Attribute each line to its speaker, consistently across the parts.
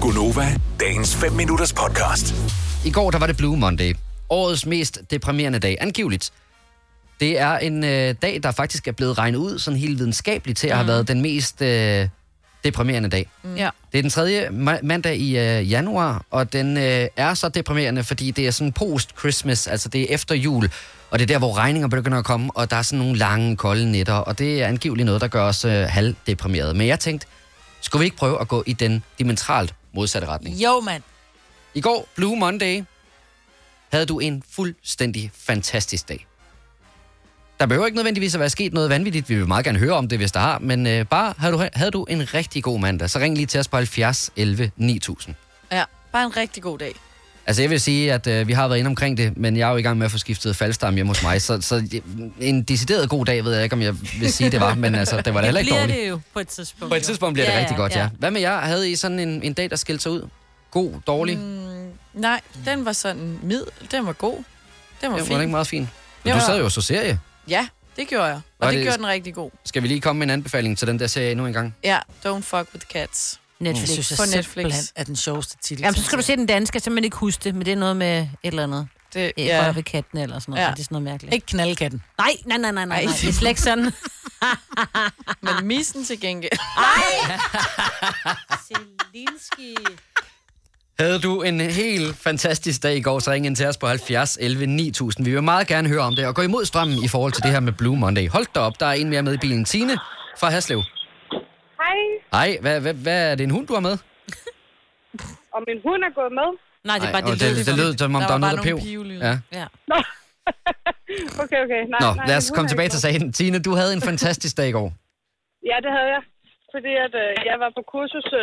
Speaker 1: Gunova, dagens 5 minutters podcast.
Speaker 2: I går der var det Blue Monday. Årets mest deprimerende dag, angiveligt. Det er en øh, dag, der faktisk er blevet regnet ud sådan helt videnskabeligt til at have været den mest øh, deprimerende dag.
Speaker 3: Ja.
Speaker 2: Det er den tredje ma- mandag i øh, januar, og den øh, er så deprimerende, fordi det er sådan post-Christmas, altså det er efter jul, og det er der, hvor regninger begynder at komme, og der er sådan nogle lange, kolde nætter, og det er angiveligt noget, der gør os øh, halvdeprimerede. Men jeg tænkte, skulle vi ikke prøve at gå i den dimensionalt modsatte retning?
Speaker 3: Jo, mand.
Speaker 2: I går, Blue Monday, havde du en fuldstændig fantastisk dag. Der behøver ikke nødvendigvis at være sket noget vanvittigt. Vi vil meget gerne høre om det, hvis der har. Men øh, bare havde du, havde du en rigtig god mandag, så ring lige til os på 70 11 9000.
Speaker 3: Ja, bare en rigtig god dag.
Speaker 2: Altså jeg vil sige, at øh, vi har været inde omkring det, men jeg er jo i gang med at få skiftet faldstamme hjemme hos mig. Så, så en decideret god dag ved jeg ikke, om jeg vil sige, det var. Men altså, det var da heller ikke
Speaker 4: bliver
Speaker 2: dårligt.
Speaker 4: det jo på et tidspunkt.
Speaker 2: På et tidspunkt bliver det
Speaker 4: Ja,
Speaker 2: rigtig
Speaker 4: ja,
Speaker 2: godt, ja.
Speaker 4: ja.
Speaker 2: Hvad med jer? Havde I sådan en, en dag, der skilte sig ud? God, dårlig?
Speaker 3: Nej, den var sådan mid. Den var god. Den var
Speaker 2: det var
Speaker 3: fin.
Speaker 2: ikke meget fint. Men
Speaker 3: Jo.
Speaker 2: du sad jo og så serie.
Speaker 3: Ja, det gjorde jeg. Og
Speaker 2: Var
Speaker 3: det,
Speaker 2: det-
Speaker 3: gjorde den rigtig god.
Speaker 2: Skal vi lige komme med en anbefaling til den der serie endnu en gang?
Speaker 3: Ja, Don't Fuck With Cats.
Speaker 4: Mm. Netflix.
Speaker 5: Jeg synes,
Speaker 3: På
Speaker 5: jeg
Speaker 3: Netflix.
Speaker 5: simpelthen er den sjoveste titel.
Speaker 4: Jamen, så skal du se den danske, så man ikke huske det, men det er noget med et eller andet.
Speaker 3: Det,
Speaker 4: Ja. Rører ved katten eller sådan noget.
Speaker 3: Ja.
Speaker 4: Ja. Det er sådan noget mærkeligt.
Speaker 5: Ikke knaldkatten.
Speaker 4: Nej, nej, nej, nej, nej.
Speaker 3: Ej.
Speaker 4: nej. Det er slet ikke sådan.
Speaker 3: Men missen til gengæld.
Speaker 4: Selinski.
Speaker 2: Havde du en helt fantastisk dag i går, så ring ind til os på 70 11 9000. Vi vil meget gerne høre om det, og gå imod strømmen i forhold til det her med Blue Monday. Hold da op, der er en mere med i bilen. Tine fra Haslev.
Speaker 6: Hej,
Speaker 2: Ej, hvad, hvad, hvad er det en hund, du har med?
Speaker 6: og min hund er gået med.
Speaker 4: Nej, det er bare
Speaker 2: Ej,
Speaker 4: det,
Speaker 2: og
Speaker 4: lød
Speaker 2: det,
Speaker 4: for
Speaker 2: det lød, som om der,
Speaker 3: Der
Speaker 2: var
Speaker 3: var
Speaker 2: noget, der
Speaker 3: bare nogle
Speaker 2: pev.
Speaker 3: pivlyde.
Speaker 2: Ja.
Speaker 4: Ja.
Speaker 6: Nå. okay, okay. Nej,
Speaker 2: Nå,
Speaker 6: nej,
Speaker 2: lad
Speaker 6: min
Speaker 2: os
Speaker 6: hund
Speaker 2: komme
Speaker 6: er
Speaker 2: tilbage
Speaker 6: ikke
Speaker 2: til
Speaker 6: med.
Speaker 2: sagen. Tine, du havde en fantastisk dag i går.
Speaker 6: Ja, det havde jeg. Fordi at, øh, jeg var på kursus øh,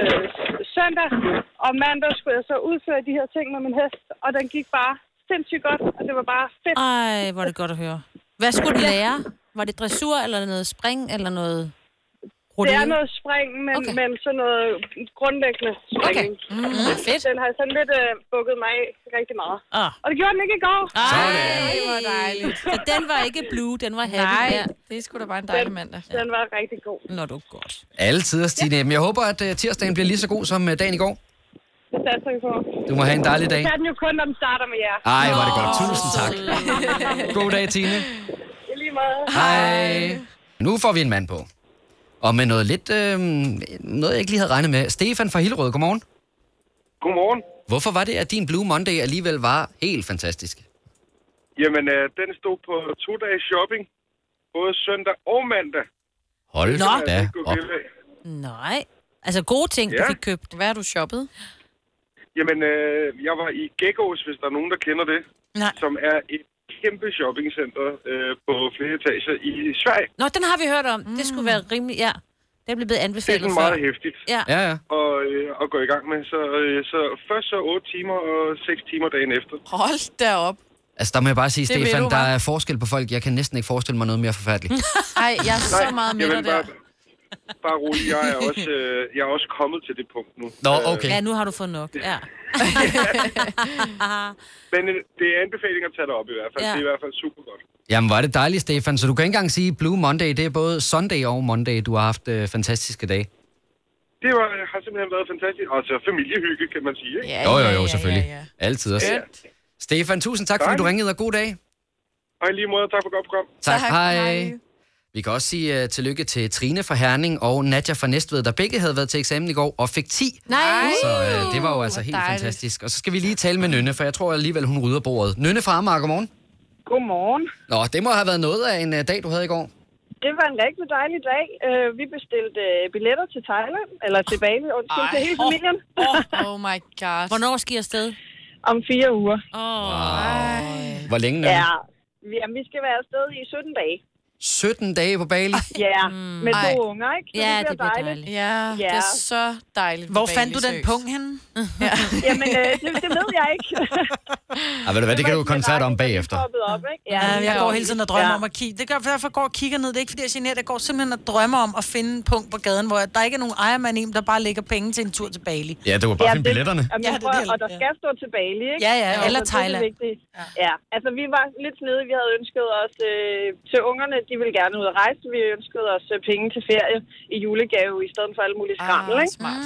Speaker 6: øh, søndag, og mandag skulle jeg så udføre de her ting med min hest, og den gik bare sindssygt godt, og det var bare fedt.
Speaker 4: Ej, hvor er det godt at høre. Hvad skulle du lære? Var det dressur eller noget spring eller noget?
Speaker 6: Det er
Speaker 4: rodeo?
Speaker 6: noget spring, men, okay.
Speaker 4: Okay.
Speaker 6: men sådan noget grundlæggende springning. Okay.
Speaker 4: Mm, fedt.
Speaker 6: Den har sådan lidt øh, bukket mig af rigtig meget.
Speaker 4: Ah.
Speaker 6: Og det gjorde den ikke i går.
Speaker 4: Ej,
Speaker 3: hvor dejligt.
Speaker 4: Så den var ikke blue, den var happy.
Speaker 3: Nej,
Speaker 4: Ja.
Speaker 3: det er sgu da bare en dejlig mandag.
Speaker 6: Den var rigtig god.
Speaker 4: Nå, du er godt.
Speaker 2: Alle tider, Stine. Men jeg håber, at øh, tirsdagen bliver lige så god som øh, dagen i går.
Speaker 6: Det satser vi på.
Speaker 2: Du må have en dejlig dag.
Speaker 6: Det er den jo kun, når den starter med jer.
Speaker 2: Ej, var det godt. Tusind tak. God dag, Tine.
Speaker 6: I lige meget.
Speaker 4: Ah.
Speaker 2: Hej. Nu får vi en mand på. Og med noget lidt, øh, noget jeg ikke lige havde regnet med. Stefan fra Hillerød, godmorgen.
Speaker 7: Godmorgen.
Speaker 2: Hvorfor var det, at din Blue Monday alligevel var helt fantastisk?
Speaker 7: Jamen, øh, den stod på to dages shopping, både søndag og mandag.
Speaker 2: Hold
Speaker 4: Nå.
Speaker 7: Altså,
Speaker 2: da
Speaker 7: ikke gå
Speaker 2: op.
Speaker 7: glip af.
Speaker 4: Nej. Altså gode ting, du
Speaker 7: Ja.
Speaker 4: fik købt.
Speaker 3: Hvad har du shoppet?
Speaker 7: Jamen, øh, jeg var i Geckos, hvis der er nogen, der kender det,
Speaker 5: Nej.
Speaker 7: som er et kæmpe shoppingcenter øh, på flere etager i Sverige.
Speaker 4: Nå, den har vi hørt om. Mm. Det skulle være rimelig, ja. Den blev blevet
Speaker 7: Det er
Speaker 4: anbefalet
Speaker 7: sådan
Speaker 4: før.
Speaker 7: meget hæftigt
Speaker 4: Ja.
Speaker 2: Ja, ja.
Speaker 7: at, øh, at gå i gang med. Så, øh, så først så 8 timer og 6 timer dagen efter.
Speaker 3: Hold da op.
Speaker 2: Altså, der må jeg bare sige,
Speaker 3: Det ved
Speaker 2: Stefan,
Speaker 3: du,
Speaker 2: der
Speaker 3: hva'?
Speaker 2: er forskel på folk. Jeg kan næsten ikke forestille mig noget mere forfærdeligt.
Speaker 3: Ej, jeg er så meget med dig
Speaker 7: jamen,
Speaker 3: der.
Speaker 7: bare, bare rolig. Jeg er, også, øh, jeg er også kommet til det punkt nu.
Speaker 2: Nå,
Speaker 7: Øh,
Speaker 2: okay.
Speaker 4: Ja, nu har du fået nok. Ja.
Speaker 7: Men øh, det er anbefaling at tage dig op i hvert fald.
Speaker 4: Ja.
Speaker 7: Det er i hvert fald super godt.
Speaker 2: Jamen, var det dejligt, Stefan. Så du kan ikke engang sige Blue Monday. Det er både Sunday og Monday, du har haft øh, fantastiske dage.
Speaker 7: Det var, har simpelthen været fantastisk. Altså familiehygge, kan man sige. Ikke?
Speaker 3: Ja,
Speaker 2: Jo, jo,
Speaker 3: ja,
Speaker 2: jo,
Speaker 3: ja,
Speaker 2: selvfølgelig.
Speaker 3: ja, ja.
Speaker 2: Altid også.
Speaker 7: Skønt.
Speaker 2: Stefan, tusind tak, fordi
Speaker 7: Tak.
Speaker 2: du ringede, og god dag.
Speaker 7: Og i lige måde, tak for godt program.
Speaker 2: Tak,
Speaker 3: Tak,
Speaker 2: hej. hej.
Speaker 3: hej.
Speaker 2: Vi kan også sige uh, tillykke til Trine fra Herning og Nadja fra Næstved, der begge havde været til eksamen i går og fik 10.
Speaker 3: Nej.
Speaker 2: Så uh, det var jo altså
Speaker 3: Hvor
Speaker 2: helt
Speaker 3: dejligt.
Speaker 2: fantastisk. Og så skal vi lige tale med Nynne, for jeg tror alligevel, hun rydder bordet. Nynne fra Amager, godmorgen.
Speaker 6: Godmorgen.
Speaker 2: Nå, det må have været noget af en uh, dag, du havde i går.
Speaker 6: Det var en rigtig dejlig dag. Øh, Vi bestilte øh, billetter til Thailand, eller til Bali, undskyld, til hele familien,
Speaker 3: Oh my god.
Speaker 4: Hvornår skal I afsted?
Speaker 6: om fire uger.
Speaker 4: Åh, oh,
Speaker 3: Ej.
Speaker 2: Hvor længe, Nynne?
Speaker 6: Ja, vi, jamen, vi skal være afsted i 17 dage.
Speaker 2: 17 dage på Bali.
Speaker 6: Ja,
Speaker 5: Mm.
Speaker 6: med to
Speaker 3: Ej.
Speaker 6: unger, ikke?
Speaker 4: ja, det bliver dejligt.
Speaker 3: Ja, det er så dejligt.
Speaker 5: Hvor
Speaker 3: for
Speaker 5: fandt du
Speaker 3: Bali
Speaker 5: den
Speaker 3: Søs.
Speaker 5: punkt henne?
Speaker 6: Jamen, øh, det, det ved jeg ikke.
Speaker 2: Ah, ved du hvad, det kan du koncentrere dig om bagefter.
Speaker 6: Poppet op, ikke?
Speaker 5: Ja, jeg går hele tiden og drømmer
Speaker 6: Ja.
Speaker 5: om at kigge. Det gør, derfor går jeg og kigger ned. Det er ikke, fordi jeg er generet. Jeg går simpelthen og drømmer om at finde en punkt på gaden, hvor der ikke er nogen ejermand i, dem, der bare lægger penge til en tur til Bali.
Speaker 2: Ja, du var
Speaker 6: Ja,
Speaker 2: bare finde
Speaker 6: det-
Speaker 2: billetterne.
Speaker 6: Jamen,
Speaker 5: Ja,
Speaker 6: ja,
Speaker 5: det er
Speaker 6: prøver,
Speaker 5: det,
Speaker 6: og der
Speaker 5: ja.
Speaker 6: skal stå til Bali, ikke?
Speaker 5: Ja, ja, eller
Speaker 6: altså,
Speaker 5: Thailand.
Speaker 6: Det er det vigtige. Ja, altså vi var lidt nede. Vi havde ønsket os øh, til ungerne, de ville gerne ud at rejse. Vi ønskede os øh, penge til ferie i julegave, i stedet for alle mulige skrammel,
Speaker 3: Ah,
Speaker 6: ikke?
Speaker 3: smart.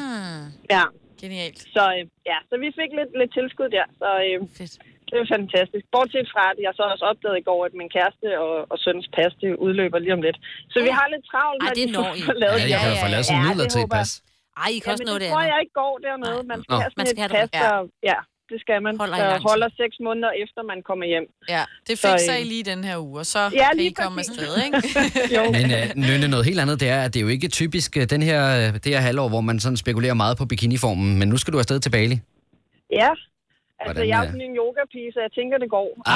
Speaker 6: Ja,
Speaker 3: Genialt.
Speaker 6: Så øh, ja, så vi fik lidt, lidt tilskud der, så øh,
Speaker 3: Fedt.
Speaker 6: det var fantastisk. Bortset fra, at jeg så også opdagede i går, at min kæreste og, og søns pas, det udløber lige om lidt. Så
Speaker 5: Ah.
Speaker 6: vi har lidt travlt,
Speaker 4: Ej,
Speaker 6: når
Speaker 4: det
Speaker 6: vi
Speaker 4: når I.
Speaker 6: får lavet
Speaker 2: Ja,
Speaker 6: det.
Speaker 2: jeg kan jo
Speaker 4: ja,
Speaker 2: få lavet sådan
Speaker 6: ja. Ja,
Speaker 2: midler
Speaker 6: det
Speaker 2: til et
Speaker 6: håber
Speaker 2: pas.
Speaker 6: jeg.
Speaker 4: Ej, I kan også
Speaker 6: Jamen,
Speaker 4: nå det
Speaker 6: det tror
Speaker 4: andet.
Speaker 6: jeg ikke går dernede. Man skal
Speaker 2: Nå.
Speaker 6: have sådan
Speaker 4: Man skal
Speaker 6: et
Speaker 4: have det
Speaker 6: pas, der, ja, det skal man.
Speaker 4: Holder i
Speaker 6: der
Speaker 4: lang tid.
Speaker 6: holder seks måneder efter, man kommer hjem.
Speaker 3: Ja, det
Speaker 6: Så,
Speaker 3: fik
Speaker 6: øh,
Speaker 3: I lige den her uge, og så
Speaker 6: Ja,
Speaker 3: kan
Speaker 6: lige
Speaker 3: I komme
Speaker 6: præcis.
Speaker 3: afsted, ikke?
Speaker 6: Jo.
Speaker 2: Men øh, Nynne, noget helt andet, det er, at det er jo ikke typisk øh, den her, øh, det her halvår, hvor man sådan spekulerer meget på bikiniformen, men nu skal du afsted til Bali.
Speaker 6: Ja. Altså,
Speaker 2: Hvordan,
Speaker 6: jeg er
Speaker 2: øh?
Speaker 6: sådan en yoga-pige, så jeg tænker, det går.
Speaker 2: Ah,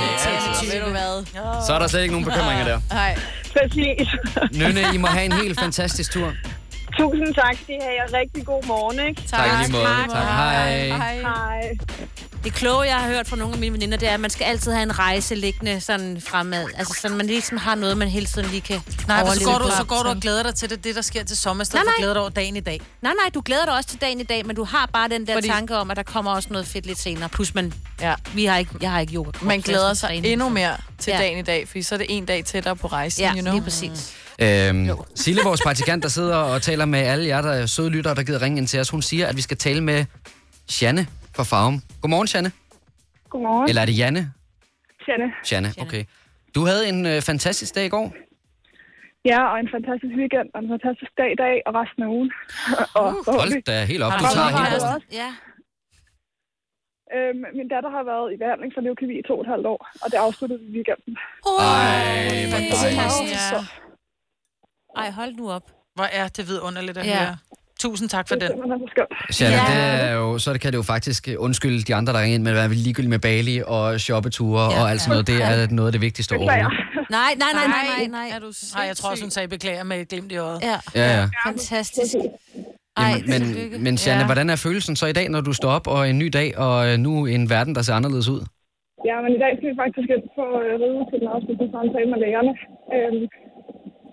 Speaker 3: Ja, ved du hvad?
Speaker 2: Så er der slet ikke nogen bekymringer der.
Speaker 3: Nej,
Speaker 6: Præcis.
Speaker 2: Nynne, I må have en helt fantastisk tur.
Speaker 6: Tusind tak, skal I have. Og rigtig god morgen, ikke?
Speaker 2: Tak i lige måde.
Speaker 4: tak.
Speaker 2: Tak. Hej.
Speaker 6: Hej.
Speaker 4: Det kloge, jeg har hørt fra nogle af mine veninder, det er, at man skal altid have en rejse liggende sådan fremad. Altså, sådan man ligesom har noget, man hele tiden lige kan
Speaker 5: Nej, for så
Speaker 4: overleve
Speaker 5: går, du,
Speaker 4: fra.
Speaker 5: så går du og glæder dig til det, det der sker til sommer, i stedet
Speaker 4: Nej,
Speaker 5: for at
Speaker 4: nej.
Speaker 5: glæde dig over dagen i dag.
Speaker 4: Nej, nej, du glæder dig også til dagen i dag, men du har bare den der
Speaker 3: Fordi-
Speaker 4: Fordi... tanke om, at der kommer også noget fedt lidt senere. Plus, man,
Speaker 3: Ja.
Speaker 4: vi har ikke, jeg har ikke yoga.
Speaker 3: man glæder sig endnu mere til
Speaker 4: Ja.
Speaker 3: dagen i dag, fordi så er det en dag tættere på rejsen,
Speaker 4: Ja,
Speaker 3: you know?
Speaker 4: lige præcis.
Speaker 2: Øhm, Sille, vores praktikant, der sidder og taler med alle jer, der er søde lyttere, der gider ringe ind til os, hun siger, at vi skal tale med Janne fra Farum. Godmorgen, Janne.
Speaker 6: Godmorgen,
Speaker 2: Eller er det Janne?
Speaker 6: Janne.
Speaker 2: Janne, okay. Du havde en øh, fantastisk dag i går.
Speaker 6: Ja, og en fantastisk weekend, og en fantastisk dag i dag, og resten af ugen. og
Speaker 4: Uh.
Speaker 2: Hold da helt op. Du
Speaker 6: Og
Speaker 2: tager
Speaker 6: nu har
Speaker 2: helt
Speaker 6: jeg
Speaker 2: op.
Speaker 6: også.
Speaker 4: Ja.
Speaker 6: Øhm, min datter har været i behandling for leukemi i to og et halvt år, og det afsluttede vi i weekenden.
Speaker 2: Ej, hvor dejligt.
Speaker 6: Så,
Speaker 4: Ej, hold nu op.
Speaker 5: Hvor er det vidunderligt at
Speaker 4: Ja.
Speaker 5: ja. høre. Tusind tak for
Speaker 6: det er
Speaker 5: den.
Speaker 6: simpelthen så skønt.
Speaker 2: Janne, det er jo, så kan det jo faktisk øh, undskylde de andre, der ringer ind med at være ligegyldige med Bali og shoppeture ja, og alt sådan noget. Det er noget af det vigtigste
Speaker 6: Beklager.
Speaker 2: overhovedet.
Speaker 4: Nej, nej, nej, nej, nej,
Speaker 3: Er
Speaker 4: nej.
Speaker 3: du
Speaker 5: Nej, jeg tror også, hun sagde beklager med et glimt i øjet.
Speaker 4: Ja,
Speaker 2: Ja, ja.
Speaker 4: fantastisk. Ej,
Speaker 2: Jamen,
Speaker 4: tillykke.
Speaker 2: men, men Janne, ja.
Speaker 5: Ja.
Speaker 2: hvordan er følelsen så i dag, når du står op og en ny dag, og øh, nu en verden, der ser anderledes ud?
Speaker 6: Ja, men i dag skal vi faktisk ind på øh, ride til den afsluttende samtale med lægerne. Øhm,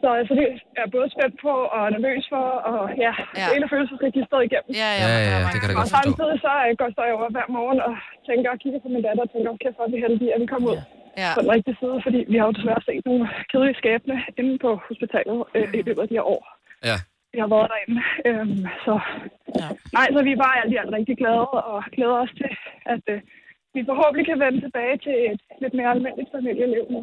Speaker 6: så altså, det er jeg både spændt på og nervøs for, og ja,
Speaker 3: Ja.
Speaker 6: ja. hele følelsesregisteret igennem.
Speaker 3: Ja, ja,
Speaker 2: Ja,
Speaker 3: men der
Speaker 2: ja,
Speaker 3: er
Speaker 2: ja,
Speaker 3: mange
Speaker 2: det kan jeg da
Speaker 6: Og
Speaker 2: godt forstå.
Speaker 6: samtidig så øh, går står jeg over hver morgen og tænker og kigger på min datter og tænker, kæft, hvor er vi heldige, at vi kom ud
Speaker 3: Ja.
Speaker 6: på den rigtige side, fordi vi har jo desværre set nogle kedelige skæbne inde på hospitalet øh, i løbet af de her år.
Speaker 2: Ja.
Speaker 6: Vi har været derinde. Øhm, så
Speaker 5: Ja.
Speaker 6: nej, så vi er bare alt i alt rigtig glade og glæder os til, at øh, vi forhåbentlig kan vende tilbage til et lidt mere almindeligt familieliv nu.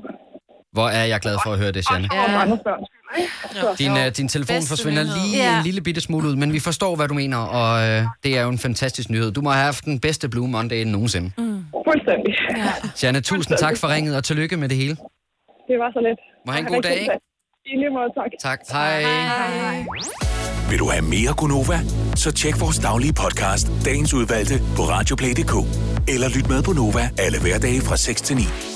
Speaker 2: Hvor er jeg glad for at høre det, Janne.
Speaker 6: Og ja. andre børn. skyld, ikke? Så,
Speaker 2: Din, øh, din telefon
Speaker 3: Bedste
Speaker 2: forsvinder
Speaker 3: nyhed.
Speaker 2: lige
Speaker 4: Ja.
Speaker 2: en lille bitte smule ud, men vi forstår, hvad du mener, og øh, det er jo en fantastisk nyhed. Du må have haft den bedste Blue Monday nogensinde. Mm.
Speaker 6: fuldstændig. Ja.
Speaker 2: Janne, tusind tak for ringet, og tillykke med det hele.
Speaker 6: Det var så let.
Speaker 2: Må have en god dag, ikke?
Speaker 6: I lige måde, tak.
Speaker 2: Tak. Hej.
Speaker 1: Vil du have mere Gunova? Så tjek vores daglige podcast, dagens udvalgte, på radioplay.dk. Eller lyt med på Nova alle hverdage fra 6 til 9.